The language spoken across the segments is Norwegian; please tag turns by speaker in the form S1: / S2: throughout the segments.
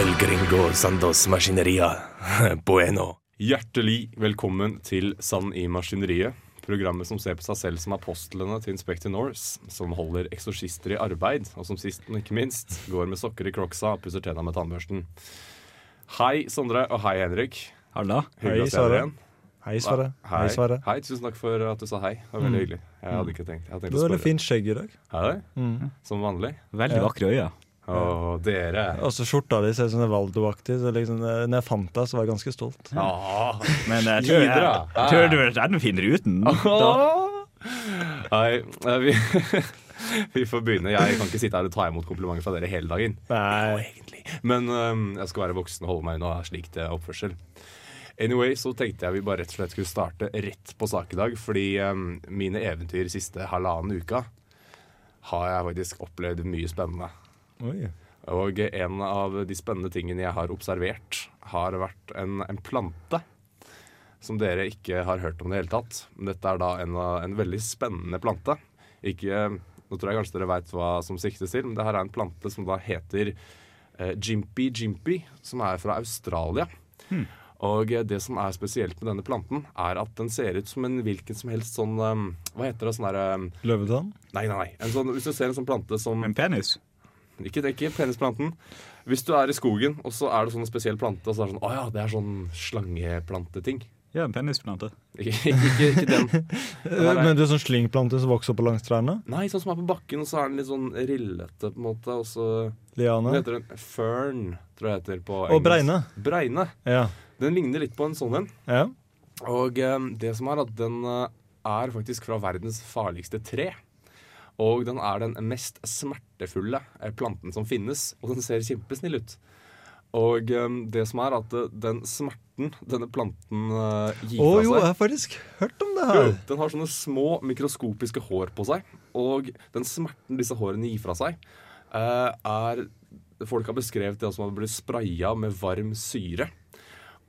S1: El Gringo Sandos Machineria. Bueno.
S2: Hjertelig velkommen til Sand i maskineriet. Programmet som ser på seg selv som apostlene til Inspector Norse, som holder eksorsister i arbeid, og som sist, men ikke minst, går med sokker i crocsa og pusser tenna med tannbørsten. Hei, Sondre, og hei, Henrik.
S3: Halla.
S2: Hyggelig å
S4: Hei,
S2: se dere
S4: Sverre.
S2: igjen.
S4: Hei, Sverre. Hei, Sverre.
S2: Hei, tusen takk for at du sa hei. Det var veldig hyggelig. Jeg hadde ikke tenkt, jeg hadde tenkt å
S4: Du har veldig Mm.
S2: spørre.
S4: fint skjegg i dag.
S2: Er det? Som vanlig.
S3: Veldig vakre øyne.
S2: Å, dere.
S4: Og så Altså, skjorta di ser ut som en Valdo-aktig. Så liksom, eh, når jeg fant deg, så var jeg ganske stolt.
S2: Ah,
S3: Men eh, jeg tror, jeg,
S2: Videre.
S3: jeg tror du er enda finere uten. Da.
S2: Nei, eh, vi, vi får begynne. Jeg kan ikke sitte her og ta imot komplimenter fra dere hele dagen.
S4: Nei.
S2: egentlig. Men øhm, jeg skal være voksen og holde meg unna slikt eh, oppførsel. Anyway, så tenkte jeg vi bare rett og slett skulle starte rett på sak i dag, fordi øhm, mine eventyr siste halvannen uka har jeg faktisk opplevd mye spennende.
S4: Oi.
S2: Og en av de spennende tingene jeg har observert, har vært en, en plante som dere ikke har hørt om i det hele tatt. Men Dette er da en, av- en veldig spennende plante. Ikke, nå tror jeg kanskje dere veit hva som siktes til, men det her er en plante som da heter eh, Jimpy Jimpy, som er fra Australia. Og eh, det som er spesielt med denne planten, er at den ser ut som en hvilken som helst sånn eh, Hva heter det? Sånn derre
S4: Løvetann?
S2: Nei, nei, nei. En sånn, hvis du ser en sånn plante som
S3: En penis.
S2: ikke tenk i penisplanten. Hvis du er i skogen, og så er det sånn en spesiell plante, og så er det sånn Å ja, det er sånn slangeplanteting.
S3: Ja, en penisplante.
S2: Ikke, ikke, ikke den.
S4: Eh, Men du er sånn slyngplante som vokser opp langs trærne?
S2: Nei, sånn som er på bakken, og så er den litt sånn rillete, på en måte, og så Den
S4: Liane?
S2: heter en fern, tror jeg det heter på
S4: Og bregne.
S2: Breine.
S4: Ja.
S2: Den ligner litt på en sånn en.
S4: ja.
S2: Og eh, det som er at den eh, er faktisk fra verdens farligste tre. Og den er den mest smertefulle eh, planten som finnes, og den ser kjempesnill ut. Og eh, det som er at eh, den smerten denne planten eh, gir
S4: Å
S2: fra seg
S4: jo, jeg har faktisk hørt om det
S2: jo,
S4: her.
S2: Den har sånne små mikroskopiske hår på seg, og den smerten disse hårene gir fra seg, eh, er Folk har beskrevet det som å bli spraya med varm syre.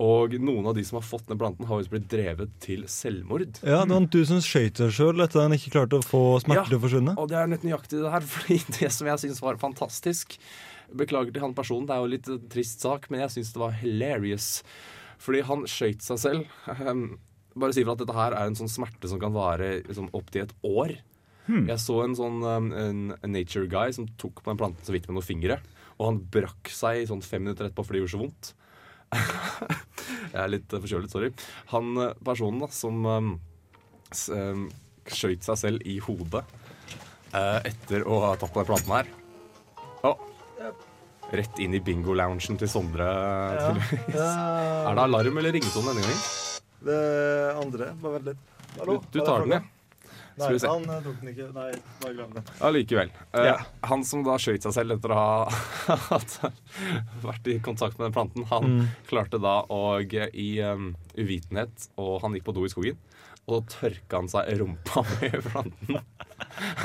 S2: Og noen av de som har fått den planten, har visst blitt drevet til selvmord.
S4: Ja, Det var du som skøyt deg sjøl etter at han ikke klarte å få smerter til å forsvinne.
S2: Og det er nett nøyaktig det her, fordi det som jeg syns var fantastisk Beklager til han personen, det er jo litt eh, trist sak, men jeg syns det var hilarious. Fordi han skøyt seg selv. Ehm, Bare si fra at dette her er en sånn smerte som kan vare liksom, opptil et år.
S4: Hmm.
S2: Jeg så en sånn ehm, en, en nature guy som tok på den planten så vidt med noen fingre. Og han brakk seg sånn fem minutter etterpå fordi det gjorde så vondt. jeg er litt eh, forkjølet, sorry. Han eh, personen da, som ehm, s- ehm, skjøt seg selv i hodet eh, etter å ha tatt på den planten her. Å, rett inn i bingo-loungen til Sondre. tydeligvis. Er det alarm eller ringetone denne gangen?
S4: Det andre. Bare vent litt.
S2: Du, du tar den, ja. Skal vi se.
S4: eh, tok den ikke. Nei, bare glem det.
S2: Allikevel. Eh,
S4: Ja.
S2: Han som da skjøt seg selv etter å ha hatt- vært i kontakt med den planten, han klarte da å i em, uvitenhet Og han gikk på do i skogen, og tørka han seg rumpa med planten.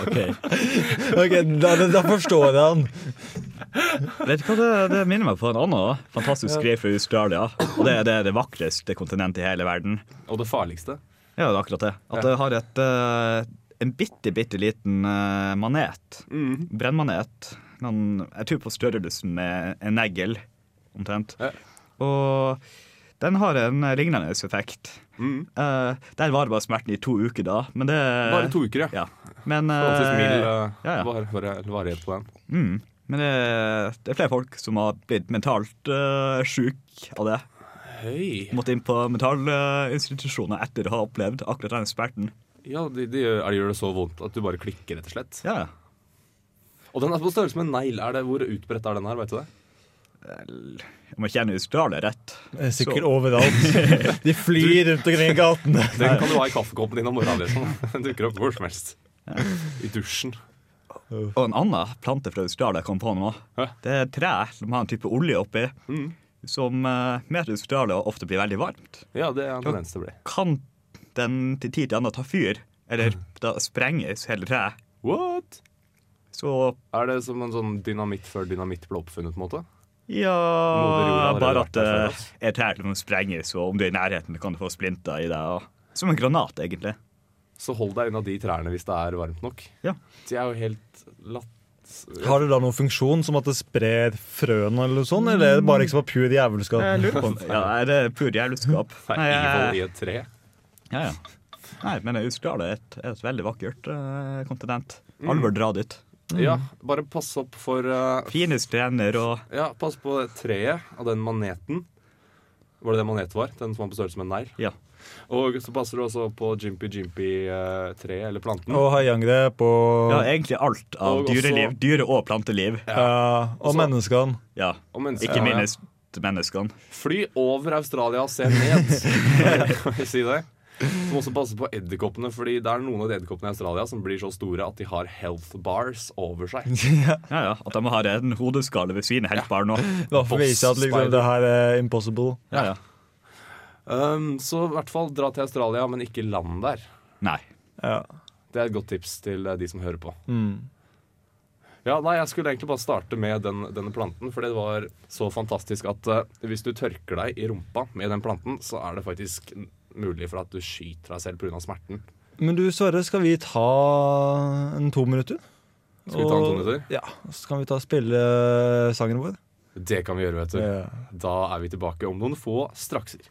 S3: Ok.
S4: Ok, Da, da forstår jeg han.
S3: Vet du hva det, det minner meg på en annen fantastisk greie fra Australia. Og det, det er det vakreste kontinentet i hele verden.
S2: Og det farligste
S3: Ja, det er akkurat det. At det har et, eh, en bitte, bitte liten eh, manet.
S2: Mhm.
S3: Brennmanet. Men jeg tror på størrelsen med en negl, omtrent.
S2: Ja.
S3: Og den har en lignende effekt.
S2: Mhm.
S3: Eh, der var det bare smerten i to uker da, men det
S2: Bare to uker, ja.
S3: Ja. Men, eh,
S2: Forholdsvis mild eh,
S3: ja, ja.
S2: var- var- varighet på den.
S3: mm, men det, det er flere folk som har blitt mentalt uh, sjuk av det.
S2: Høy.
S3: Måtte inn på mentalinstitusjoner etter å ha opplevd akkurat den smerten.
S2: Ja, de, de, gjør- de gjør det så vondt at du bare klikker, rett og slett.
S3: Ja, ja.
S2: Og den er på størrelse med en negl. Er det- Hvor utbredt er den her? vet du det?
S3: Om jeg kjenner Australia rett.
S4: Eh, Sikkert
S3: Så-
S4: overalt. De flyr rundt omkring i gatene.
S2: Den kan du ha i kaffekoppen din om morgenen. Liksom. Den dukker opp hvor som helst. I dusjen.
S3: Og en annen plante fra Australia kom på nå.
S2: Hæ?
S3: Det er et tre som har en type olje oppi. som eh, med Australia ofte blir veldig varmt,
S2: Ja, det er en tendens til å bli.
S3: kan den til tid til annen ta fyr, eller da sprenges hele treet.
S2: What?
S3: Så
S2: Er det som en sånn dynamitt før dynamitt ble oppfunnet, på en måte? Moder jord
S3: Ja
S2: har allerede
S3: Bare at eh,
S2: vært der før
S3: det
S2: oss.
S3: er trær som sprenges, og om du er i nærheten, kan du få splinter i deg. og- Som en granat, egentlig.
S2: Så hold deg unna de trærne hvis det er varmt nok.
S3: Ja.
S2: De er jo helt latt...
S4: Har det da noen funksjon, som at det sprer frøene eller noe sånt? Eller er det bare liksom av pur jævelskap?
S3: Ja, er det pur jævleskap?
S2: Det
S3: Nei,
S2: er evil
S3: jeg-
S2: i et tre.
S3: ja, ja. Nei, men Australia er et, er et veldig vakkert eh, kontinent.
S2: Mm.
S3: Alle bør dra dit.
S2: Ja, bare pass opp for eh,
S3: Fine strender og
S2: Ja, pass på det treet av den maneten. Var det det manet var? Den som var på størrelse med en negl?
S3: Ja.
S2: Og så passer du også på jimpy-jimpy-treet, eller planten.
S4: Og haiangrep og
S3: ja, egentlig alt av
S2: Og også-
S3: dyreliv. Dyre- og planteliv.
S4: Ja, og
S2: Så-
S4: menneskene.
S3: Ja.
S2: Og mennesker-
S3: Ikke minst menneskene.
S2: Fly over Australia og se ned, kan vi si det. Du må også passe på edderkoppene, fordi det er noen av de edderkoppene i Australia som blir så store at de har health bars over seg.
S3: Ja, ja. At de har en hodeskalle ved siden av helt barn nå.
S4: Da får vi vise at liksom,
S2: Boss-spider.
S4: det her er impossible.
S3: Ja, ja.
S2: Um, så i hvert fall dra til Australia, men ikke land der.
S3: Nei.
S4: Ja.
S2: Det er et godt tips til eh, de som hører på.
S4: Mm.
S2: Ja, nei, Jeg skulle egentlig bare starte med den, denne planten, for det var så fantastisk at eh, hvis du tørker deg i rumpa med den planten, så er det faktisk n- mulig for at du skyter deg selv pga. smerten.
S4: Men du Sverre, skal vi ta en to minutter?
S2: Skal vi ta en to minutter?
S4: Ja, så kan vi ta og spille eh, sangen vår.
S2: Det kan vi gjøre, vet du.
S4: Ja.
S2: Da er vi tilbake om noen få strakser.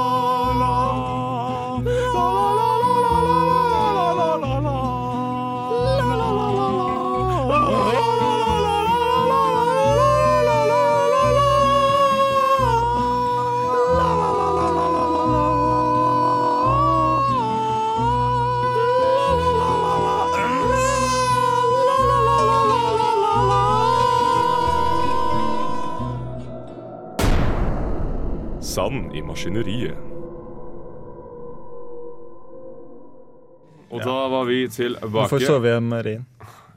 S1: Sand i maskineriet.
S2: Og da var vi
S4: Du får
S2: tilbake.
S4: sove hjem, Rein.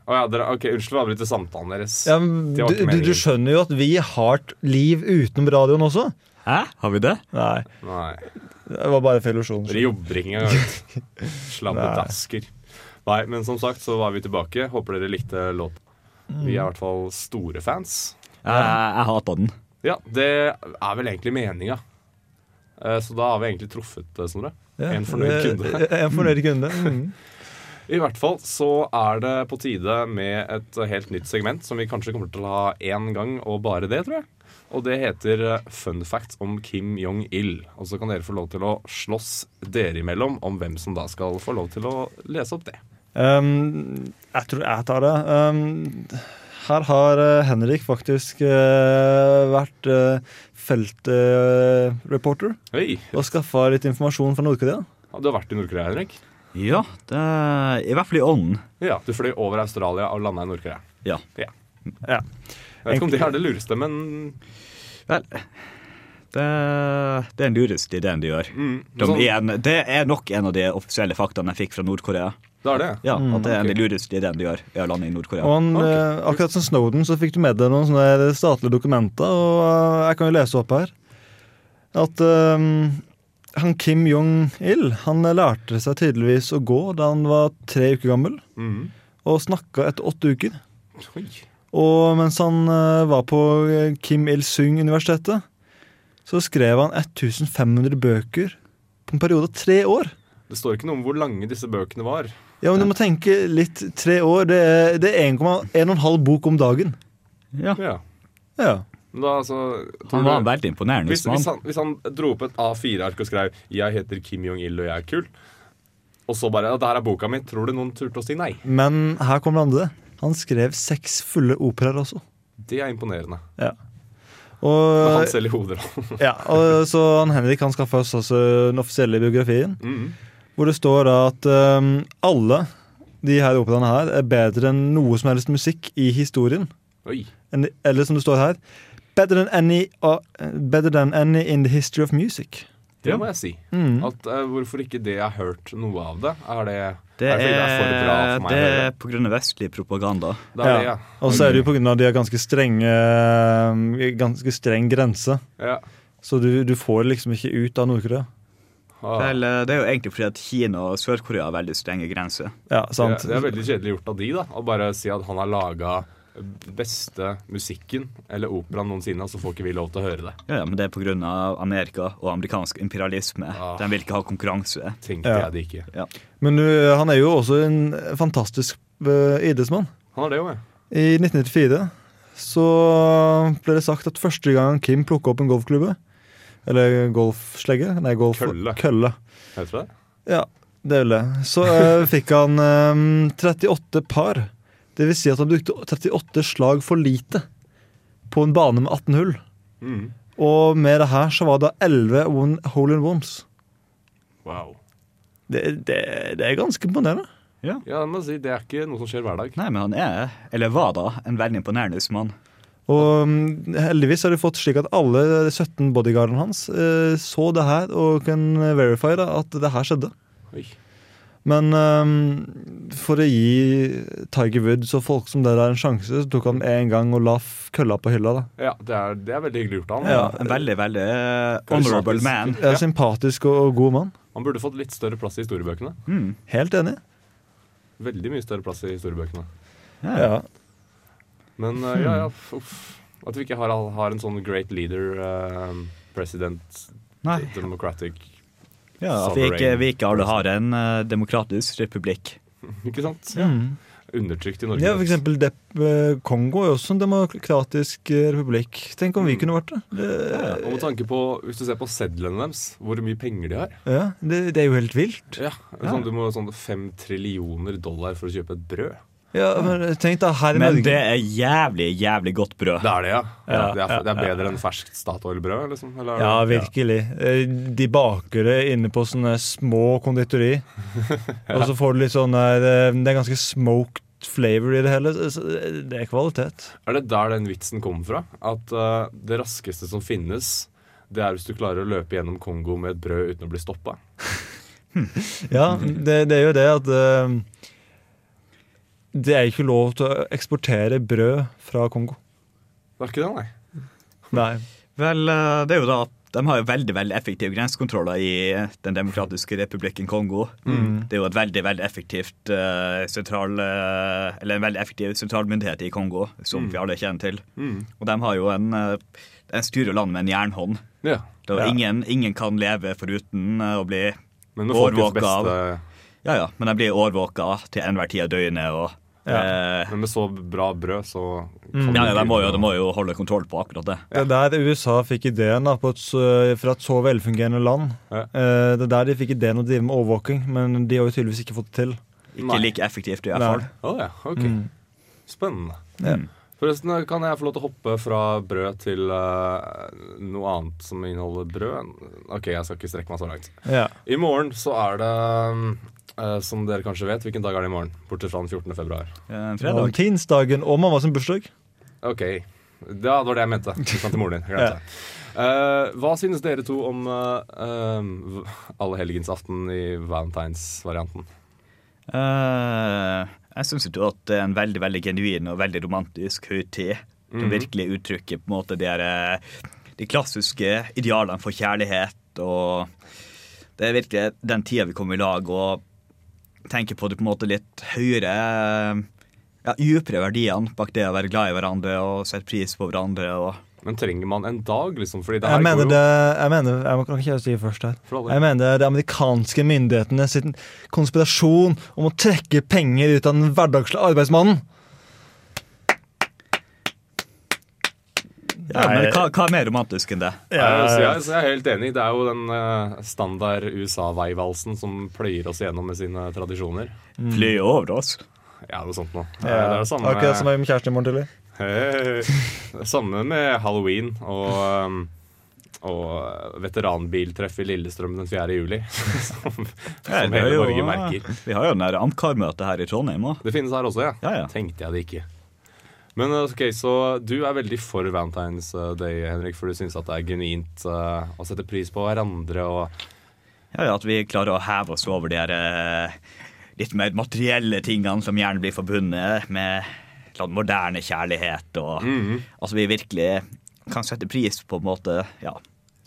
S2: Å ja, dere, ok, Unnskyld, jeg avbryter samtalen deres.
S4: Ja, men
S2: Det
S4: du,
S2: var ikke
S4: du, du
S2: meningen.
S4: skjønner jo at vi har et liv utenom radioen også?
S3: Hæ? Har vi det?
S4: Nei,
S2: Nei.
S4: det var bare for illusjonen.
S2: Dere jobber ikke engang. Slammedasker. Nei, men som sagt så var vi tilbake. Håper dere likte låten. Vi er i
S4: Mm.
S2: hvert fall store fans.
S3: Eh, Jeg, jeg hater den.
S2: Ja, det er vel egentlig meninga. Eh, Så da har vi egentlig truffet, eh, Snorre.
S4: Ja,
S2: En fornøyd
S4: det-
S2: kunde.
S4: En fornøyd kunde. Mm.
S2: I hvert fall så er det på tide med et eh, helt nytt segment som vi kanskje kommer til å ha én gang, og bare det, tror jeg. Og det heter eh, Fun facts om Kim Jong-il. Og så kan dere få lov til å slåss dere imellom om hvem som da skal få lov til å lese opp det.
S4: Um, jeg tror jeg tar det. Um, her har eh, Henrik faktisk eh, vært feltreporter
S2: Hei!
S4: og skaffa litt informasjon fra Nord-Korea.
S2: Ja, Du har vært i Nord-Korea, Henrik?
S3: Ja, det er, i hvert fall i ånden.
S2: Ja, Du fløy over Australia og landa i Nord-Korea.
S3: Ja.
S2: Ja.
S4: Ja.
S2: Jeg vet ikke om det er det lureste, men
S3: Vel, det, det er en lurest ideen de gjør. De
S2: sånn-
S3: er en, det er nok en av de offisielle faktaene jeg fikk fra Nord-Korea.
S2: det er det.
S3: Ja, At det er en av de lureste ideene de gjør, er å lande i Nord-Korea.
S4: Og han,
S2: Ok.
S4: eh, akkurat som Snowden så fikk du med deg noen sånne her statlige dokumenter, og eh, jeg kan jo lese opp her at eh, han Kim Jong-il han lærte seg tydeligvis å gå da han var tre uker gammel,
S2: Mhm.
S4: og snakka etter åtte uker.
S2: Oi.
S4: Og mens han eh, var på eh, Kim Il-sung-universitetet, så skrev han 1500 bøker på en periode av tre år.
S2: Det står ikke noe om hvor lange disse bøkene var.
S4: Ja, men du må tenke litt. Tre år, det er, det er 1,5 bok om dagen.
S3: Ja,
S2: Ja.
S4: Ja.
S2: Men da, altså, tror
S3: Han
S2: du-
S3: var en veldig imponerende
S2: hvis, hvis,
S3: mann.
S2: han, hvis han dro opp et A4-ark og skrev 'Jeg heter Kim Jong-il, og jeg er kul', og så bare 'Det her er boka mi', tror du noen turte å si nei?
S4: Men her kommer det andre. Han skrev seks fulle operaer også.
S2: Det er imponerende.
S4: Ja.
S2: Med
S3: Eh,
S2: han
S4: Og,
S2: selv i hovedrollen.
S4: ja, og så han Henrik han skaffa oss altså den offisielle biografien,
S2: Mhm.
S4: hvor det står da at eh, alle de her operaene her er bedre enn noe som helst musikk i historien.
S2: Oi.
S4: En- Eller som det står her Better than any, uh, better than any in the history of music.
S2: Det
S3: Ja. Mm.
S2: må jeg si. At, eh, hvorfor ikke det jeg har hørt noe av det? Er det,
S3: Det
S2: fordi det er for bra
S3: er,
S2: for meg?
S3: det
S2: å
S3: er
S2: høre?
S3: på grunn av vestlig propaganda.
S2: Det er det,
S4: Ja.
S2: ja. Mm.
S4: Og så er det jo pga. de har ganske strenge eh, Ganske streng grense.
S2: ja.
S4: Så du, du får det liksom ikke ut av Nord-Korea.
S2: Ah.
S3: Vel, eh, det er jo egentlig fordi at Kina og Sør-Korea har veldig strenge grenser.
S4: Ja, sant.
S2: Det, det er veldig kjedelig gjort av de, da. Å bare si at han har laga beste musikken eller operaen noensinne, og så får ikke vi lov til å høre det.
S3: Ja, ja, men det er på grunn av Amerika og amerikansk imperialisme.
S2: Ah.
S3: De vil ikke ha konkurranse.
S2: Tenkte
S4: Ja.
S2: jeg det ikke.
S3: Ja.
S4: Men du, han er jo også en fantastisk eh, idrettsmann.
S2: Han er det jo, ja.
S4: I 1994 så ble det sagt at første gang Kim plukka opp en golfklubbe Eller golfslegge? Nei, golf...
S2: Kølle.
S4: kølle.
S2: Heter det det?
S4: Ja, det er vel det. Så eh, fikk han eh, 38 par. Det vil si at han brukte 38 slag for lite på en bane med 18 hull.
S2: Mm.
S4: Og med det her så var det 11 one- hole in ones.
S2: Wow.
S4: Det, det, det er ganske imponerende.
S2: Ja, jeg må si, det er ikke noe som skjer hver dag.
S3: Nei, men han er, eller var da, en veldig imponerende mann.
S4: Og mm, heldigvis har de fått slik at alle 17 bodyguardene hans eh, så det her og kan verify da, at det her skjedde.
S2: Oi.
S4: Men ehm, for å gi Tiger Woods og folk som det der en sjanse, så tok han en gang og la f- kølla på hylla. da.
S2: Ja, det er, det er veldig hyggelig gjort av han.
S4: Ja.
S3: En veldig, veldig eh, honorable man.
S4: Er Sympatisk og, og god mann.
S2: Han burde fått litt større plass i historiebøkene.
S3: Mm.
S4: Helt enig.
S2: Veldig mye større plass i historiebøkene.
S3: Ja.
S4: Ja.
S2: Men eh, ja, ja, uff. At vi ikke har, har en sånn great leader, eh, president,
S3: Nei,
S2: democratic
S3: ja, at vi ikke, vi ikke alle har en eh, demokratisk republikk.
S2: Ikke sant?
S4: Mm.
S2: Undertrykt i Norge.
S4: ja, for eksempel Dep eh, Kongo er jo også en demokratisk eh, republikk. Tenk
S3: Mm.
S4: om vi kunne vært det. Det,
S2: Og med tanke på, Hvis du ser på sedlene deres, hvor mye penger de har
S4: ja, det, det er jo helt vilt.
S2: ja. Sånn, Du må ha sånn fem trillioner dollar for å kjøpe et brød.
S4: Ja, men tenk da, her i
S3: Men
S4: Norge
S3: det er jævlig, jævlig godt brød.
S2: Det er det, ja. det, er, det er bedre enn ferskt Statoil-brød? liksom? Eller,
S4: Ja, virkelig. Eh, De baker det inne på sånne små konditori. Og så får du litt sånn der eh, Det er ganske smoked flavor i det hele. så- så Det er kvalitet.
S2: Er det der den vitsen kommer fra? At eh, det raskeste som finnes, det er hvis du klarer å løpe gjennom Kongo med et brød uten å bli stoppa?
S4: Ja, det, det er jo det at eh, Det er ikke lov til å eksportere brød fra Kongo.
S2: Det er ikke det, nei.
S4: Nei.
S3: Vel, eh, det er jo da at de har jo veldig veldig effektive grensekontroller i eh, Den demokratiske republikken Kongo. Det er jo et veldig veldig effektivt eh, sentral eh, Eller en veldig effektiv sentralmyndighet i Kongo, som vi alle kjenner til. Og de har jo en eh, De styrer landet med en jernhånd.
S2: Ja.
S3: Da
S4: Ja.
S3: ingen, ingen kan leve foruten eh, å bli
S2: Men med folkets
S3: Årvåka av-
S2: beste
S3: Ja ja, men de blir overvåka til enhver tid av døgnet. og... eh,
S2: Men med så bra brød, så
S3: ja, Mm. ja, de, må jo, de må jo holde kontroll på akkurat det.
S4: Det er der USA fikk ideen da, på et, så- fra et så velfungerende land.
S2: Ja.
S4: Eh, Det er der de fikk ideen å drive med overvåking, men de har jo tydeligvis ikke fått det til.
S3: Ikke
S2: Nei.
S3: like effektivt i hvert fall.
S4: Nei.
S2: Å ja, ok. Spennende.
S4: Mm. Ja.
S2: Forresten, kan jeg få lov til å hoppe fra brød til eh, noe annet som inneholder brød? Ok, jeg skal ikke strekke meg så langt.
S4: Ja.
S2: I morgen så er det, eh, som dere kanskje vet, hvilken dag er det i morgen? Bortsett fra den 14. februar.
S3: Eh, fredag.
S4: Valentinsdagen og mamma sin bursdag.
S2: Ok, da var det jeg mente. Jeg sa til moren din. Jeg glemte det. Eh, hva synes dere to om eh, uh, allehelgens aften i valentinsvarianten?
S3: Eh, jeg syns jo at det er en veldig veldig genuin og veldig romantisk høytid. Som virkelig uttrykker på en måte de, her, eh, de klassiske idealene for kjærlighet. Og det er virkelig den tida vi kom i lag og tenker på det på en måte litt høyere eh, ja, Dypere verdiene bak det å være glad i hverandre og sette pris på hverandre. og
S2: Men trenger man en dag, liksom? Fordi det her
S4: Jeg mener
S2: går
S4: det
S2: jo
S4: Jeg mener, jeg må kan ikke jeg si det først her.
S2: For all del.
S4: Jeg mener det er de amerikanske myndighetene sin konspirasjon om å trekke penger ut av den hverdagslige arbeidsmannen.
S3: Ja,
S4: Nei.
S3: men hva, hva er mer romantisk enn det?
S2: Eh, Så jeg, så jeg er helt enig. Det er jo den eh, standard USA-veivalsen som pløyer oss gjennom med sine tradisjoner.
S3: Flyet over oss.
S2: Ja, noe sånt noe. Eh, Det er det samme,
S4: Akkurat som jeg var med kjæresten i morgen tidlig.
S2: Hei. Det samme med halloween og, um, og veteranbiltreff i Lillestrøm den 4. juli. Som,
S3: Ja,
S2: som
S3: det er
S2: hele
S3: jo-
S2: Norge merker.
S3: Vi har jo den der Amcar-møtet her i Trondheim òg.
S2: Det finnes her også, ja.
S3: Ja, ja.
S2: Tenkte jeg det ikke. Men eh, ok, så du er veldig for Valentine's eh, Day, Henrik, for du syns at det er genuint eh, å sette pris på hverandre og
S3: Ja, ja, at vi klarer å heve oss over de her eh, litt mer materielle tingene som gjerne blir forbundet med sånn moderne kjærlighet. Og,
S2: Mm.
S3: Altså vi virkelig kan sette pris på en måte, ja,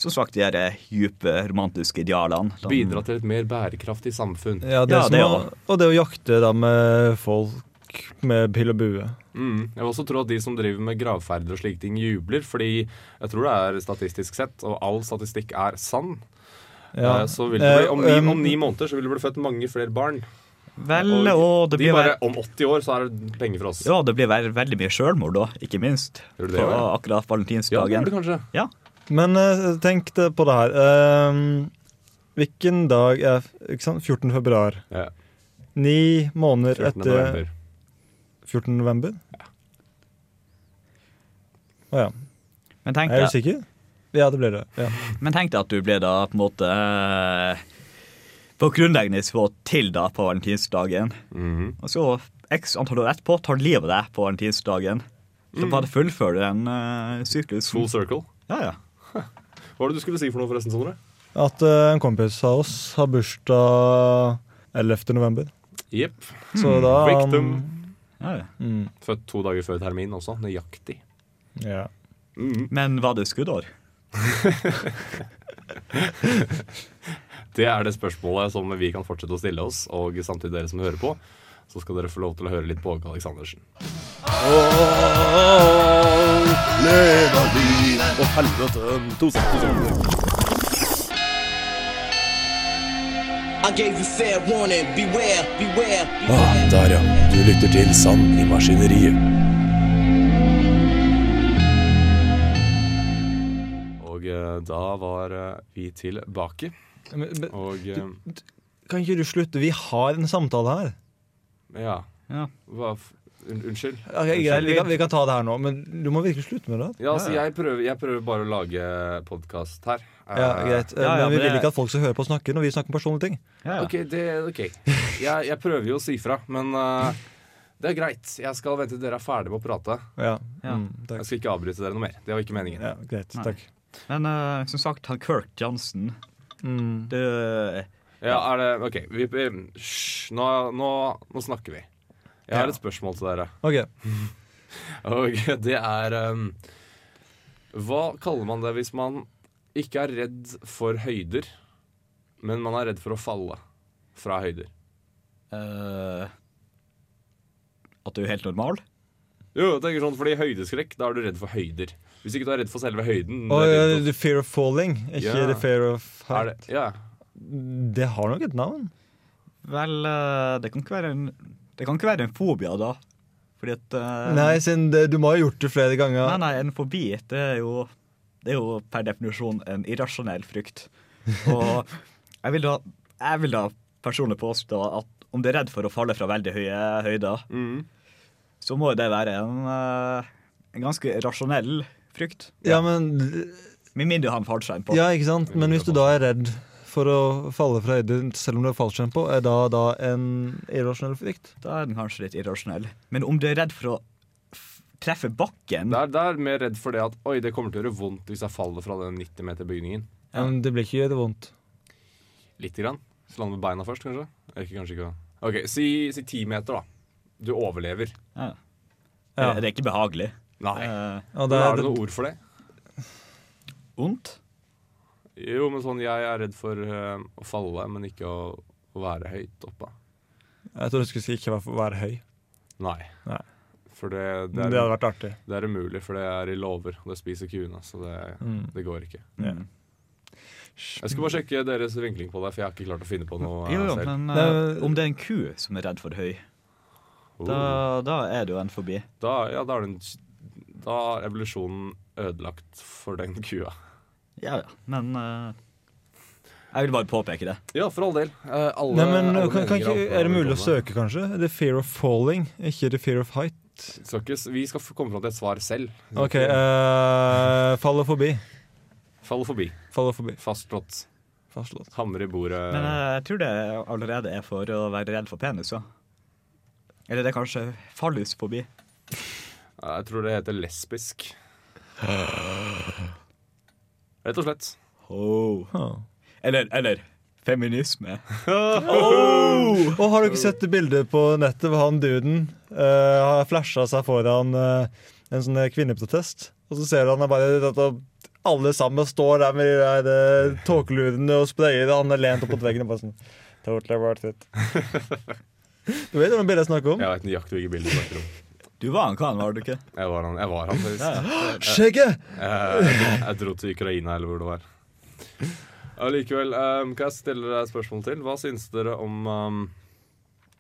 S3: som sagt, de her eh, dype romantiske idealene. Sånn-
S2: bidra til et mer bærekraftig samfunn.
S4: Ja, det
S3: Ja,
S4: som
S3: det
S4: å,
S3: også.
S4: og det å jakte da med folk med pil og bue.
S2: Mm. Jeg vil også tro at de som driver med gravferder og slike ting, jubler, fordi jeg tror det er statistisk sett, og all statistikk er sann,
S4: Ja.
S2: eh, så vil det bli, om, ni,
S4: Eh,
S2: om ni måneder så vil det bli født mange flere barn.
S3: Vel, og det
S2: de
S3: blir,
S2: bare,
S3: bare...
S2: om 80 år så er det penger for oss.
S3: ja, det blir vel- veldig mye sjølmord da, ikke minst.
S2: Gjør det det,
S3: på
S2: ja?
S3: akkurat
S2: Ja, det
S3: valentinsdagen.
S2: gjør det kanskje.
S3: Ja.
S4: Men eh, tenk det på det her. Ehm, hvilken dag er ikke sant? 14. februar?
S2: Ja,
S4: Ni måneder
S2: 14.
S4: etter
S2: november.
S4: 14. november? Å ja.
S3: Men tenk
S4: Er
S3: deg-
S4: du sikker? Ja, det ble det. Ja.
S3: Men tenk deg at du ble da på en måte eh, på grunnleggende nivå til da på valentinsdagen. Og så x antall år etterpå tar du livet av deg på valentinsdagen. Så bare fullfører du den uh, syklusen.
S2: Full circle.
S3: Ja, ja.
S2: Hva var det du skulle si for noe, forresten, Sondre?
S4: At eh, en kompis av oss har bursdag 11. november.
S2: Jepp.
S4: Så da um,
S2: Victim.
S3: ja, ja.
S4: Mm,
S2: Født to dager før termin også. Nøyaktig.
S4: ja.
S3: Men var det skuddår?
S2: Det er det spørsmålet som vi kan fortsette å stille oss, og samtidig dere som hører på, så skal dere få lov til å høre litt på Åge Aleksandersen.
S5: I gave you fair warning. Beware, beware, beware.
S6: Ah, der ja. Du lytter til Sand i maskineriet.
S2: Og eh, da var eh, vi tilbake,
S4: Men, men,
S2: og eh,
S4: kan ikke du slutte? Vi har en samtale her.
S2: ja.
S3: Ja.
S2: Hva f un unnskyld.
S4: Ok, greit, vi, kan, vi kan ta det her nå, men du må virkelig slutte med det.
S2: Ja, altså, jeg prøver, jeg prøver bare å lage podkast her. Eh,
S4: Ja, greit. Eh,
S3: Ja, ja,
S4: men vi vil
S3: men det-
S4: ikke at folk skal høre på oss snakke når vi snakker om personlige ting.
S3: Ja, ja.
S2: Ok, det, ok. Jeg, jeg prøver jo å si fra, men eh, det er greit. Jeg skal vente til dere er ferdige med å prate.
S4: Ja,
S3: Ja.
S4: Mm, takk.
S2: Jeg skal ikke avbryte dere noe mer. Det var ikke meningen.
S4: ja greit.
S3: Nei.
S4: Takk.
S3: Men eh, som sagt, han Kirk Johnson eh,
S4: Mm.
S3: det,
S2: Ja, er det OK. Vi, eh, hysj, nå, nå, nå snakker vi. Jeg har et spørsmål til dere.
S4: Ok.
S2: Og det er ehm, Hva kaller man det hvis man ikke er redd for høyder, men man er redd for å falle fra høyder?
S3: eh, At du er helt normal?
S2: Jo, jeg tenker sånn, fordi høydeskrekk, da er du redd for høyder. Hvis ikke du er redd for selve høyden du
S4: Og
S2: er
S4: eh,
S2: redd
S4: The Fear of Falling, ikke
S2: Ja.
S4: The Fear of
S2: for- er det,
S4: Height.
S2: ja.
S4: Det har nok et navn.
S3: Vel, eh, det kan ikke være en Det kan ikke være en fobia, da. Fordi at eh,
S4: Nei, siden det, du må ha gjort det flere ganger.
S3: Nei, nei, en fobi det er, jo, det er jo per definisjon en irrasjonell frykt. Og jeg vil da, jeg vil da personlig påstå at om du er redd for å falle fra veldig høye høyder, så må jo det være en, eh, en ganske rasjonell frykt.
S4: Ja, men
S3: Med mindre du har en fallskjerm på.
S4: Ja, ikke sant? Men hvis du da er redd for å falle fra høyden, selv om du har fallskjerm på, er da, da en irrasjonell frykt?
S3: Da er den kanskje litt irrasjonell. Men om du er redd for å f- treffe bakken
S2: Det er, det er mer redd for det at Oi, det kommer til å gjøre vondt hvis jeg faller fra den 90 meter bygningen.
S4: Ja. Men det blir ikke gjøre vondt.
S2: Lite grann. Så lande med beina først, kanskje? Eller ikke, kanskje ikke. OK, si, si 10 meter, da. Du overlever.
S3: ja.
S4: Ja.
S3: Det er ikke behagelig.
S2: Nei.
S3: Eh,
S4: Ja, det,
S2: Men er
S4: er,
S2: det noe ord for det?
S3: vondt?
S2: Jo, men sånn, jeg er redd for eh, å falle, men ikke å, å være høyt oppe.
S4: jeg tror du skulle si ikke være, være høy.
S2: Nei.
S4: Nei.
S2: For det,
S4: Det
S2: det,
S4: hadde
S2: er,
S4: vært artig.
S2: det er umulig, for det er i låver, og det spiser kuene. Så det,
S4: Mm.
S2: det går ikke.
S4: Ja.
S3: Mm.
S2: Jeg skulle bare sjekke deres vinkling på det, for jeg har ikke klart å finne på noe eh,
S3: Jo, jo,
S2: selv.
S3: men
S4: Det er-
S3: eh, om det er en ku som er redd for høy
S2: Oh.
S3: Da, da er det jo en forbi.
S2: Da, ja, da, er den, da er evolusjonen ødelagt for den kua.
S3: Ja, ja. Men eh, jeg vil bare påpeke det.
S2: Ja, for all del. Eh, alle,
S4: Nei, men
S2: alle
S4: kan, kan
S2: meninger
S4: ikke,
S2: alt
S4: Er det mulig å
S2: velkomne.
S4: søke, kanskje? The fear of falling, ikke the fear of height.
S2: Skal ikke, s- vi skal f- komme fram til et svar selv.
S4: OK. Uh, faller forbi.
S2: Fall forbi.
S4: Faller forbi.
S2: Fastslått.
S4: Fastslått.
S2: Hammer i bordet.
S3: Men eh, jeg tror det allerede er for å være redd for penis, ja. Eller det er kanskje fallus forbi.
S2: Jeg tror det heter lesbisk. Rett og slett. Oh.
S3: Eller, eller feminisme.
S4: Og har du ikke sett bildet på nettet hvor han duden eh, har flasha seg foran eh, en sånn eh, kvinneprotest? Og så ser du han er bare at alle sammen står der med de der eh, tåkelurene og sprayer, og han er lent opp mot veggen og bare sånn Totally worth it. Du vet hvilket bilde jeg snakker om?
S2: Jeg veit nøyaktig hvilke bilder du snakker om.
S3: Du var en kan, var du ikke?
S2: Jeg var han, jeg var han faktisk. Eh,
S4: Skjegget!
S2: Jeg, jeg dro til Ukraina, eller hvor det var. Allikevel, um, kan jeg stille deg et spørsmål til? Hva syns dere om um,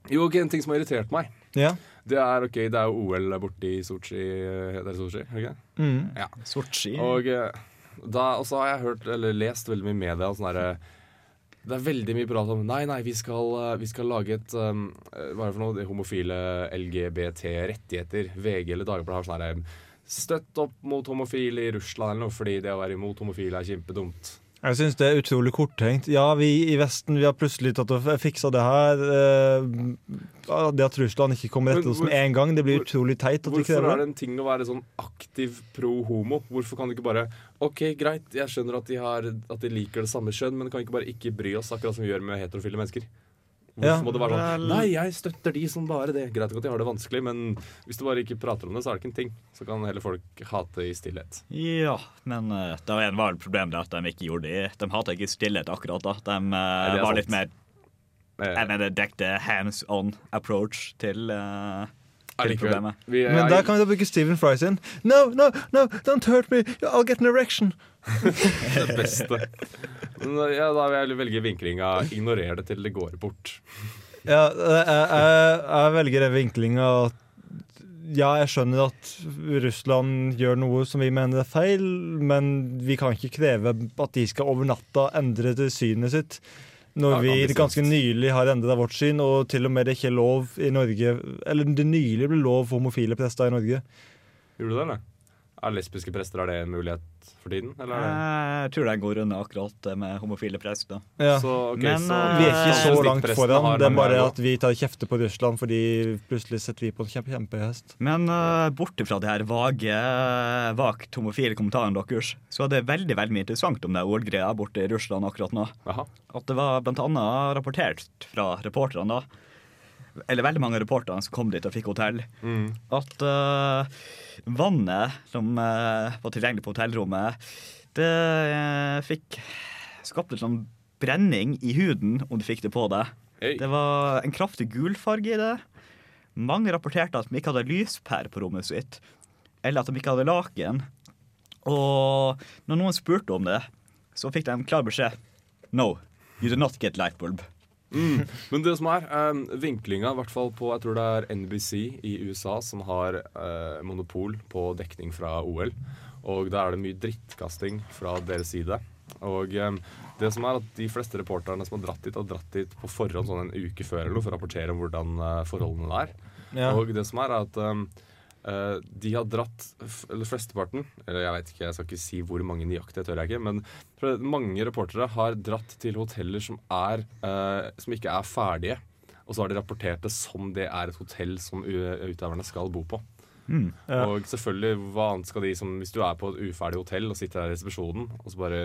S2: Jo, ok, en ting som har irritert meg.
S4: Ja.
S2: Det er ok, det er jo OL der borte i Sotsji. Heter det Sotsji? er det ikke det?
S3: Sort ski.
S2: Og eh, da, og så har jeg hørt, eller lest veldig mye i media om sånn derre- Det er veldig mye prat om Nei, nei, vi skal, eh, vi skal lage et um, eh, Hva er det for noe? Det homofile LGBT-rettigheter. VG eller Dagbladet har sånn herre Støtt opp mot homofile i Russland eller noe, fordi det å være imot homofile er kjempedumt.
S4: Jeg syns det er utrolig korttenkt. Ja, vi i Vesten vi har plutselig tatt og f- fiksa det her. eh, Det at Russland ikke kommer etter
S2: Men
S4: oss med
S2: hvor-
S4: en gang, det blir
S2: hvor-
S4: utrolig teit. at de ikke
S2: Hvorfor
S4: gjør
S2: er
S4: det.
S2: det en ting å være sånn aktiv pro homo? Hvorfor kan du ikke bare OK, greit, jeg skjønner at de, har, at de liker det samme kjønn, men kan vi ikke bare ikke bry oss, akkurat som vi gjør med heterofile mennesker? Hvorfor
S4: Ja,
S2: må det være sånn
S4: vel-
S2: Nei, jeg støtter de som bare det. Greit nok at de har det vanskelig, men hvis du bare ikke prater om det, så er det ikke en ting. Så kan heller folk hate i stillhet.
S3: Ja, men uh, det var en var problem det at de ikke gjorde det. De hadde ikke stillhet akkurat da. De eh,
S2: det er
S3: var
S2: sant.
S3: litt mer
S2: Eh,
S3: jeg mener, direkte hands on approach til, eh, til
S2: allikevel,
S3: problemet.
S2: Vi, jeg,
S4: Men der kan vi da bruke Stephen Fry sin. No, no, no, don't hurt me, I'll get an erection.
S2: det beste. Men, eh, ja, da vil jeg velge vinklinga 'ignorer det til det går bort'.
S4: Ja, jeg, jeg, jeg velger den vinklinga at ja, jeg skjønner at Russland gjør noe som vi mener er feil, men vi kan ikke kreve at de skal over natta endre det synet sitt. Når
S2: Ja,
S4: vi
S2: ambisiøst.
S4: ganske nylig har endra vårt syn, og til og med det ikke er lov i Norge Eller det nylig ble lov for homofile prester i Norge.
S2: Gjorde du det, eller? Er lesbiske prester er det en mulighet for tiden? Eller? er det-
S3: Eh, Jeg tror den går unna akkurat det med homofile prester.
S4: Ja.
S2: Så, ok,
S3: Men,
S2: så,
S3: eh,
S4: Vi er ikke så
S3: Statsminister
S4: langt
S2: Presten
S4: foran.
S2: har
S4: Det er
S2: mange
S4: bare
S2: her nå.
S4: at vi tar kjefte på Russland fordi plutselig setter vi på en kjempe, kjempehest.
S3: Men uh, borte fra de her vage, vagt homofile kommentarene deres, så er det veldig veldig mye interessant om det ordgreia borte i Russland akkurat nå.
S2: Jaha.
S3: At det var blant annet rapportert fra reporterne, da, eller veldig mange av reporterne som kom dit og fikk hotell, at eh, vannet som eh, var tilgjengelig på hotellrommet, det eh, fikk skapt litt sånn brenning i huden om du fikk det på deg.
S2: Hey.
S3: Det var en kraftig gulfarge i det. Mange rapporterte at de ikke hadde lyspære på rommet sitt, eller at de ikke hadde laken. Og når noen spurte om det, så fikk de en klar beskjed. No, you do not get light bulb.
S2: Men det som er, eh, vinklinga, i hvert fall på jeg tror det er NBC i USA, som har eh, monopol på dekning fra OL. Og da er det mye drittkasting fra deres side. Og eh, det som er at de fleste reporterne som har dratt dit, har dratt dit på forhånd sånn en uke før eller noe for å rapportere om hvordan eh, forholdene er.
S4: Ja.
S2: Og det som er, er at um, eh, de har dratt f Eller flesteparten Eller jeg vet ikke, jeg skal ikke si hvor mange nøyaktig, det tør jeg ikke. Men for mange reportere har dratt til hoteller som, er, eh, som ikke er ferdige. Og så har de rapportert det som det er et hotell som u- utøverne skal bo på. Og selvfølgelig, hva annet skal de som Hvis du er på et uferdig hotell og sitter der i resepsjonen og så bare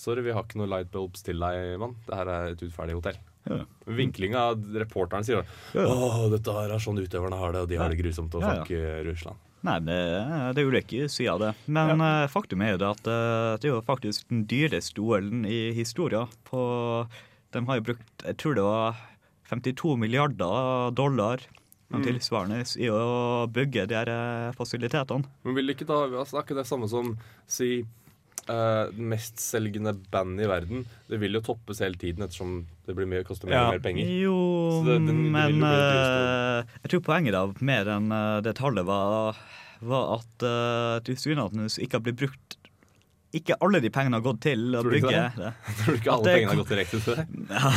S2: Sorry, vi har ikke noe light bulbs til deg, mann. Det her er et uferdig hotell.
S3: Ja.
S2: Vinklinga av reporteren sier da
S3: Ja.
S2: Åh, dette her er sånn utøverne har det, og de har det grusomt, og
S3: Ja, ja.
S2: fuck eh, Russland.
S3: Nei, det, det er ulike sider av det. Men eh, faktum er jo det at eh, det er jo faktisk den dyreste OL-en i historien. På, de har jo brukt, jeg tror det var 52 milliarder dollar noe tilsvarende i å bygge de her eh, fasilitetene.
S2: Men vil ikke da altså, Det er ikke det samme som si eh, mestselgende band i verden. Det vil jo toppes hele tiden ettersom det blir mye, koster mer
S4: Ja.
S2: og mer penger.
S3: Jo,
S2: Så det- den- den vil jo bli
S3: men
S2: det
S3: eh, jeg tror poenget da, mer enn eh, det tallet, var, var at uh, tilsynelatende så ikke har blitt brukt Ikke alle de pengene har gått til å
S2: Tror du ikke
S3: bygge
S2: det?
S3: det.
S2: Tror du ikke
S3: det
S2: alle pengene
S3: kom-
S2: har gått direkte til det?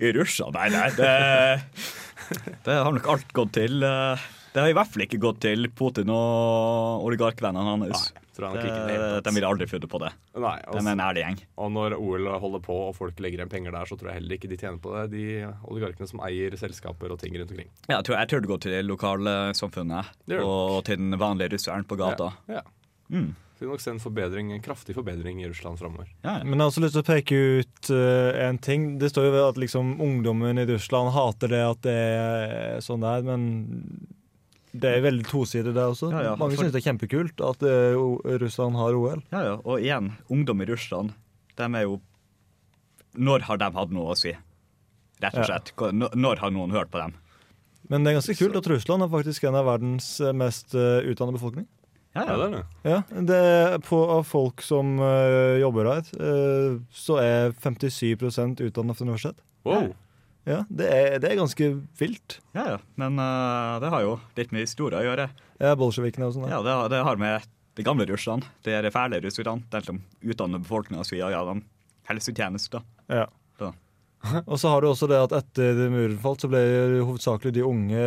S3: I Russland? Nei, nei. Det, det har nok alt gått til. eh, Det har i hvert fall ikke gått til Putin og oligarkvennene hans.
S2: tror jeg nok ikke. i det hele
S3: Eh,
S2: tatt.
S3: De ville aldri funnet på det.
S2: Nei,
S3: De er
S2: altså,
S3: en ærlig gjeng.
S2: og når OL holder på og folk legger igjen penger der, så tror jeg heller ikke de tjener på det. De oligarkene som eier selskaper og ting rundt omkring.
S3: Ja, jeg, tror, jeg tror det går til det lokale samfunnet
S2: Det gjør det.
S3: og til den vanlige russeren på gata.
S2: Ja. ja.
S3: Mm.
S2: Så vi nok se en forbedring, en kraftig forbedring i Russland framover.
S3: Ja, ja.
S4: Men jeg har også lyst til å peke ut eh, en ting. Det står jo ved at liksom, ungdommen i Russland hater det at det er sånn det er, men det er veldig tosidig, det også.
S3: Ja, ja,
S4: Mange
S3: for-
S4: syns det er kjempekult at eh, O- Russland har OL.
S3: ja, ja. Og igjen, ungdom i Russland, de er jo Når har de hatt noe å si? Rett og
S4: Ja.
S3: slett. Hva- Når når har noen hørt på dem?
S4: Men det er ganske kult at Russland er faktisk en av verdens eh, mest eh, utdannede befolkning.
S3: Ja,
S2: Ja,
S3: ja.
S2: det er det.
S4: Ja, det er på, Av folk som eh, jobber her, eh, så er 57 utdannet fra universitet.
S2: Wow.
S4: Ja, det er, det er ganske vilt.
S3: ja, ja. Men eh, det har jo litt med historie å gjøre.
S4: Ja, Bolsjevikene og sånn.
S3: Ja, det, har- det har med det gamle Russland, det er fæle russerne, de som utdanner befolkninga si ja, ja, de helsetjenester.
S4: Ja.
S3: Da.
S4: Og så har du også det at etter muren falt, så ble jo hovedsakelig de unge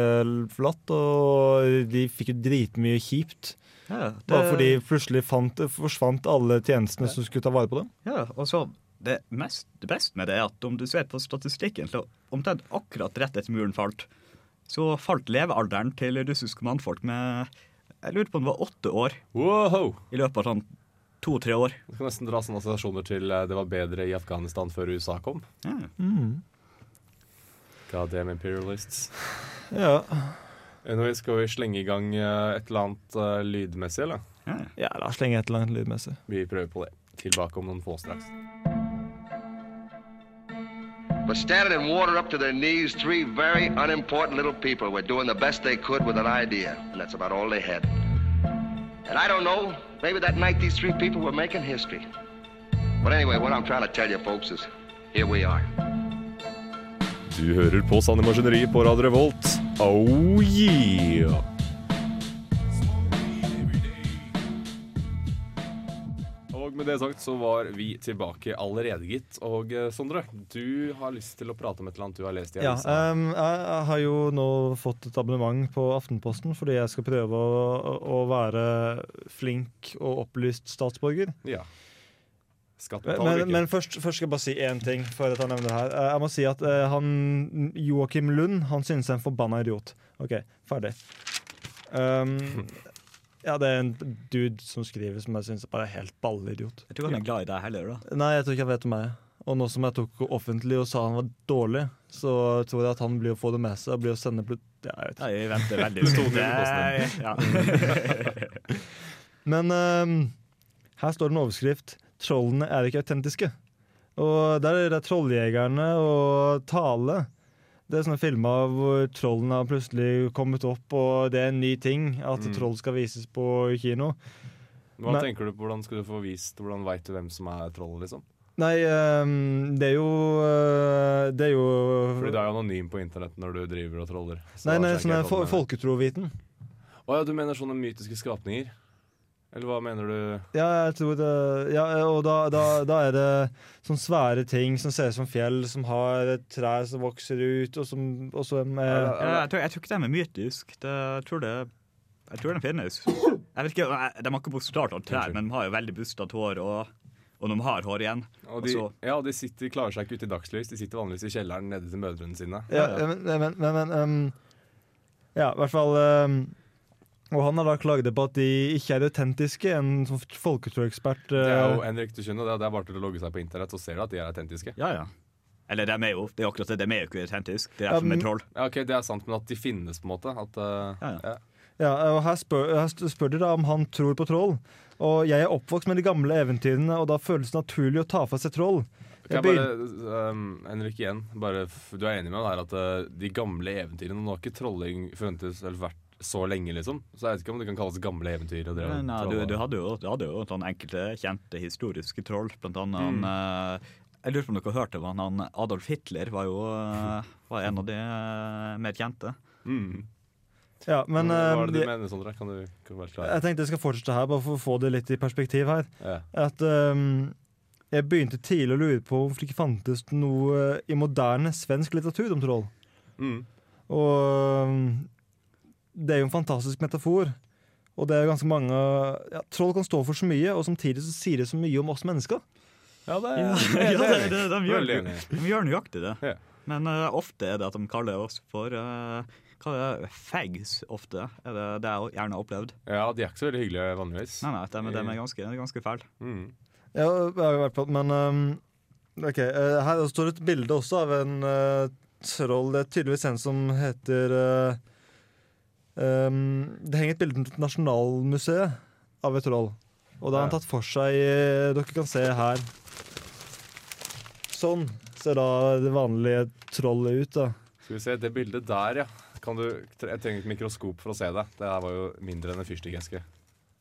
S4: forlatt. Og de fikk jo dritmye kjipt.
S3: Ja, ja, det-
S4: Bare fordi plutselig fant, forsvant alle tjenestene som skulle ta vare på dem.
S3: Ja, og så det, mest, det beste med det er at om du ser på statistikken, så omtrent akkurat rett etter muren falt, så falt levealderen til russiske mannfolk med Jeg lurer på om det var åtte år
S2: Wow.
S3: i løpet av sånn to-tre år.
S2: Du kan nesten dra sånne assosiasjoner til eh, det var bedre i Afghanistan før USA kom.
S3: Ja.
S2: God damn imperialists.
S4: Ja,
S2: Anyway, skal vi slenge i gang eh, et eller annet eh, lydmessig, eller?
S4: ja la oss slenge et eller annet lydmessig.
S2: Vi prøver på det. Tilbake om noen få straks.
S7: But standing in water up to their knees, three very unimportant little people were doing the best they could with an idea, and that's about all they had. And I don't know, maybe that night these three people were making history. But anyway, what I'm trying to tell you folks is here we are.
S1: Du hører på Sanne Maskineri på Radio Revolt. Oh yeah!
S2: Og med det sagt så var vi tilbake allerede, gitt. Og eh, Sondre, du har lyst til å prate om et eller annet du har lest i
S4: Ja,
S2: avisa.
S4: ehm, jeg jeg har jo nå fått et abonnement på Aftenposten fordi jeg skal prøve å, å være flink og opplyst statsborger.
S2: Ja. Skatt
S4: Men,
S2: betaler du
S4: men,
S2: ikke.
S4: men først, først skal jeg bare si én ting. før at Jeg nevner det her. Eh, Jeg må si at eh, han, Joakim Lund han synes jeg er en forbanna idiot. OK, ferdig. Um, ja, det er en dude som skriver som jeg syns bare er helt balleidiot.
S3: Jeg tror han er glad i deg heller, da.
S4: Nei, jeg tror ikke han vet om meg. Og nå som jeg tok offentlig og sa han var dårlig, så tror jeg at han blir å få det med seg og blir å sende plut... Ja, jeg vet ikke.
S3: Nei, jeg venter veldig stort. Ja.
S4: Men ehm, her står det en overskrift 'Trollene er ikke autentiske'. Og der er det 'Trolljegerne' og 'Tale'. Det er sånne filmer hvor trollene har plutselig kommet opp, og det er en ny ting at
S2: Mm.
S4: troll skal vises på kino.
S2: Hva
S4: men-
S2: tenker du på, Hvordan skal du få vist Hvordan veit du hvem som er trollet, liksom?
S4: Nei, ehm, det er jo eh, Det er jo
S2: Fordi du er jo anonym på internett når du driver og troller. Så
S4: Nei,
S2: da
S4: nei,
S2: skjønner
S4: sånn
S2: jeg
S4: er
S2: ikke
S4: fo-
S2: helt hva du mener.
S4: folketroviten.
S2: Å ja, du mener sånne mytiske skapninger? Eller hva mener du?
S4: Ja, jeg tror det ja, Og da, da, da er det sånne svære ting som ser ut som fjell, som har et trær som vokser ut, og som og så med,
S3: Ja, jeg, tror, jeg tror ikke de er mytisk. Det, jeg, tror det, jeg tror de finnes. Jeg vet ikke, jeg- De har ikke bokstavelig trær, men de har jo veldig bustete hår, og, og de har hår igjen.
S2: Og de,
S4: Altså-
S3: Og så-
S2: ja, de sitter, klarer seg ikke ute i dagslys. De sitter vanligvis i kjelleren nede til mødrene sine.
S4: ja, Men, men, men, men ehm, Ja, i hvert fall ehm, Og han har da klaget på at de ikke er autentiske. En sånn folketroekspert
S2: Det er jo
S4: uh,
S2: Henrik, du skjønner, det er- det er bare til å logge seg på internett, så ser du at de er autentiske.
S3: Ja, ja. Eller de er jo det er akkurat det, de er jo ikke autentiske. Det er som
S4: men-
S3: et troll.
S2: Ja, ok, Det er sant, men at de finnes, på en måte. At, eh,
S3: Ja, ja.
S4: ja, og her spør, her st- spør de da om han tror på troll. Og jeg er oppvokst med de gamle eventyrene, og da føles det naturlig å ta fra seg troll.
S2: Kan
S4: Jeg
S2: jeg
S4: begyn-
S2: bare, ehm, Henrik, igjen. Bare, f- du er enig med meg der at eh, de gamle eventyrene Nå har ikke trolling funnes eller vært så lenge, liksom. Så jeg vet ikke om det kan kalles gamle eventyr. Og det å
S3: Men, eh, du,
S2: trolle.
S3: du hadde jo, du hadde jo sånn enkelte kjente historiske troll, blant annet han eh, Jeg lurer på om dere hørte om han, han Adolf Hitler var jo eh, var en av de eh, mer kjente.
S2: Mm.
S4: Ja, men
S2: Hva er
S4: ehm,
S2: det du
S4: de- Eh,
S2: mener, Sondre? Kan du, kan du være klar?
S4: Jeg tenkte jeg skal fortsette her, bare for å få det litt i perspektiv her.
S2: Ja.
S4: At ehm, jeg begynte tidlig å lure på hvorfor det ikke fantes noe eh, i moderne svensk litteratur om troll.
S2: Mm.
S4: Og ehm, det er jo en fantastisk metafor. Og det er ganske mange ja, Troll kan stå for så mye, og samtidig så sier det så mye om oss mennesker.
S2: Ja, det
S3: Ja, det, det, de, gjør,
S2: Veldig enig.
S3: de gjør nøyaktig det.
S2: Ja.
S3: Men eh, ofte er det at de kaller oss for eh, hva er det? fags, ofte. Er det, det jeg gjerne har opplevd.
S2: Ja, de er ikke så veldig hyggelige vanligvis.
S3: Nei, nei, de, de er ganske, de er ganske fæle.
S4: Ja, i hvert fall, men ehm, ok, eh, Her står det et bilde også av en eh, troll. Det er tydeligvis en som heter eh, ehm, Det henger et bilde til Nasjonalmuseet av et troll. Og da har han
S2: Ja.
S4: tatt for seg eh, Dere kan se her. Sånn ser da det vanlige trollet ut. da.
S2: Skal vi se, det bildet der, ja. Kan du, tre- jeg trenger et mikroskop for å se det. Det her var jo mindre enn en fyrstikkeske.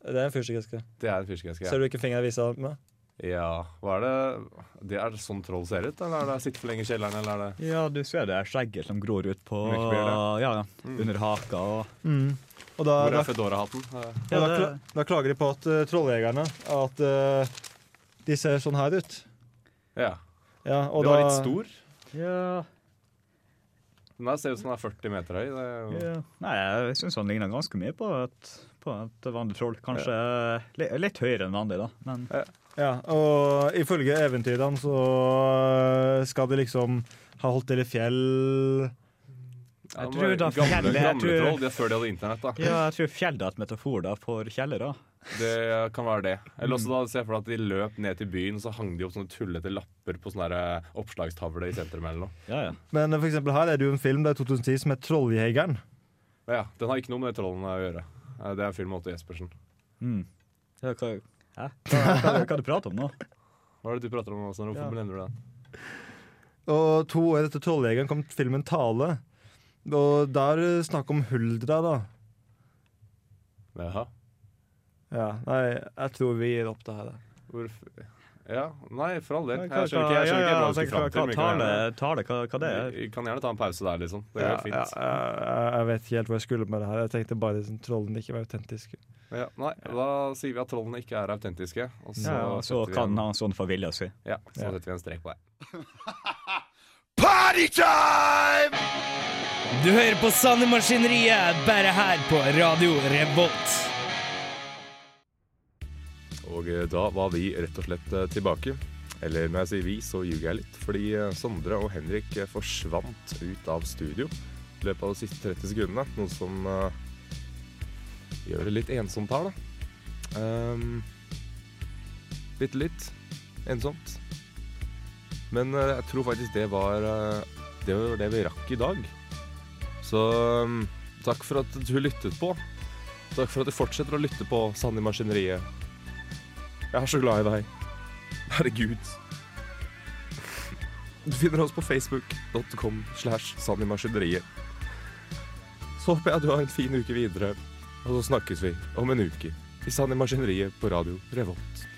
S4: Det er en fyrstikkeske.
S2: Det er en fyrstikkeske.
S4: Ser du ikke fingeren jeg viser med?
S2: Ja, hva er det? det Er det sånn troll ser ut? Eller er det sitte for lenge i kjelleren? Eller er det
S3: Ja, du ser det skjegget som gror ut på
S2: Mørkebeard,
S3: ja, ja, Mm. under haka. Og,
S4: Og da,
S2: Hvor
S4: da,
S2: er Fedora-hatten? Eh,
S4: ja,
S3: ja,
S4: da,
S3: det,
S4: kla- da klager de på at eh, trolljegerne At eh, de ser sånn her ut.
S2: Ja.
S4: Ja, og
S2: Den var
S4: da-
S2: litt stor.
S3: ja,
S2: Den der ser ut som den er 40 meter høy. Det er jo...
S3: ja. Nei, jeg syns han ligner ganske mye på et, på et vanlig troll. Kanskje li, litt høyere enn vanlig, da. Men
S4: Ja, og ifølge eventyrene så øh, skal de liksom ha holdt til i fjell
S2: Ja,
S3: Jeg
S2: de
S3: tror
S2: var
S3: da
S2: gamle,
S3: fjellet- jeg
S2: gamle
S3: tror-
S2: troll, det er før de hadde internett, da.
S3: ja, jeg tror fjellet er et metafor da, for kjellere.
S2: Det kan være det. Eller også da ser jeg for deg at de løp ned til byen, så hang de opp sånne tullete lapper på sånne der, eh, oppslagstavle i sentrum eller noe.
S3: Ja, ja.
S4: Men for eksempel her er det jo en film det er 2010 som heter Trolljegeren.
S2: Men ja, den har ikke noe med de trollene å gjøre. Eh, Det er en film med Otto Jespersen.
S3: Ja, hva, hæ? Hva, hva, hva du prater om nå?
S2: Hva er det du prater om nå? Sånn? Hvorfor
S3: Ja.
S2: nevner du den?
S4: Og to år etter Trolljegeren kom filmen Tale. Og der er det snakk om huldra, da.
S2: Jaha.
S4: Ja, nei, jeg tror vi gir opp det her. da.
S2: Hvorfor? Ja, nei, for all del.
S3: Hva-
S2: Jeg skjønner ikke, jeg skjønner
S3: ja,
S2: ikke
S3: ja,
S2: hva du
S3: altså,
S2: skal fram til.
S3: hva-
S2: men vi
S3: hva-
S2: kan gjerne-
S3: Tale, tale hva, hva det er?
S2: Vi kan gjerne ta en pause der, liksom. Det
S4: Ja,
S2: går
S4: ja,
S2: fint.
S4: jeg, jeg vet ikke helt hvor jeg skulle med det her. Jeg tenkte bare at trollene ikke var autentiske.
S2: Ja, nei, da sier vi at trollene ikke er autentiske, og så,
S3: Ja, og så
S2: setter,
S3: kan
S2: vi en,
S3: han sånn for vilja si.
S2: ja, så setter vi en strek på det.
S8: Du hører på Sanne Maskineriet, bare her på Radio Revolt.
S1: Og eh, da var vi rett og slett eh, tilbake. Eller når jeg sier vi, så ljuger jeg litt. Fordi eh, Sondre og Henrik eh, forsvant ut av studio i løpet av de siste 30 sekundene. Noe som eh, gjør det litt ensomt her, da. Um, bitte litt ensomt. Men eh, jeg tror faktisk det var eh, det, var det vi rakk i dag. Så um, takk for at du lyttet på. Takk for at du fortsetter å lytte på Sanne i Maskineriet. Jeg er så glad i deg. Herregud. Du finner oss på facebook.com slash sannimaskineriet. Så håper jeg du har en fin uke videre, og så snakkes vi om en uke i Sannimaskineriet på Radio Revolt.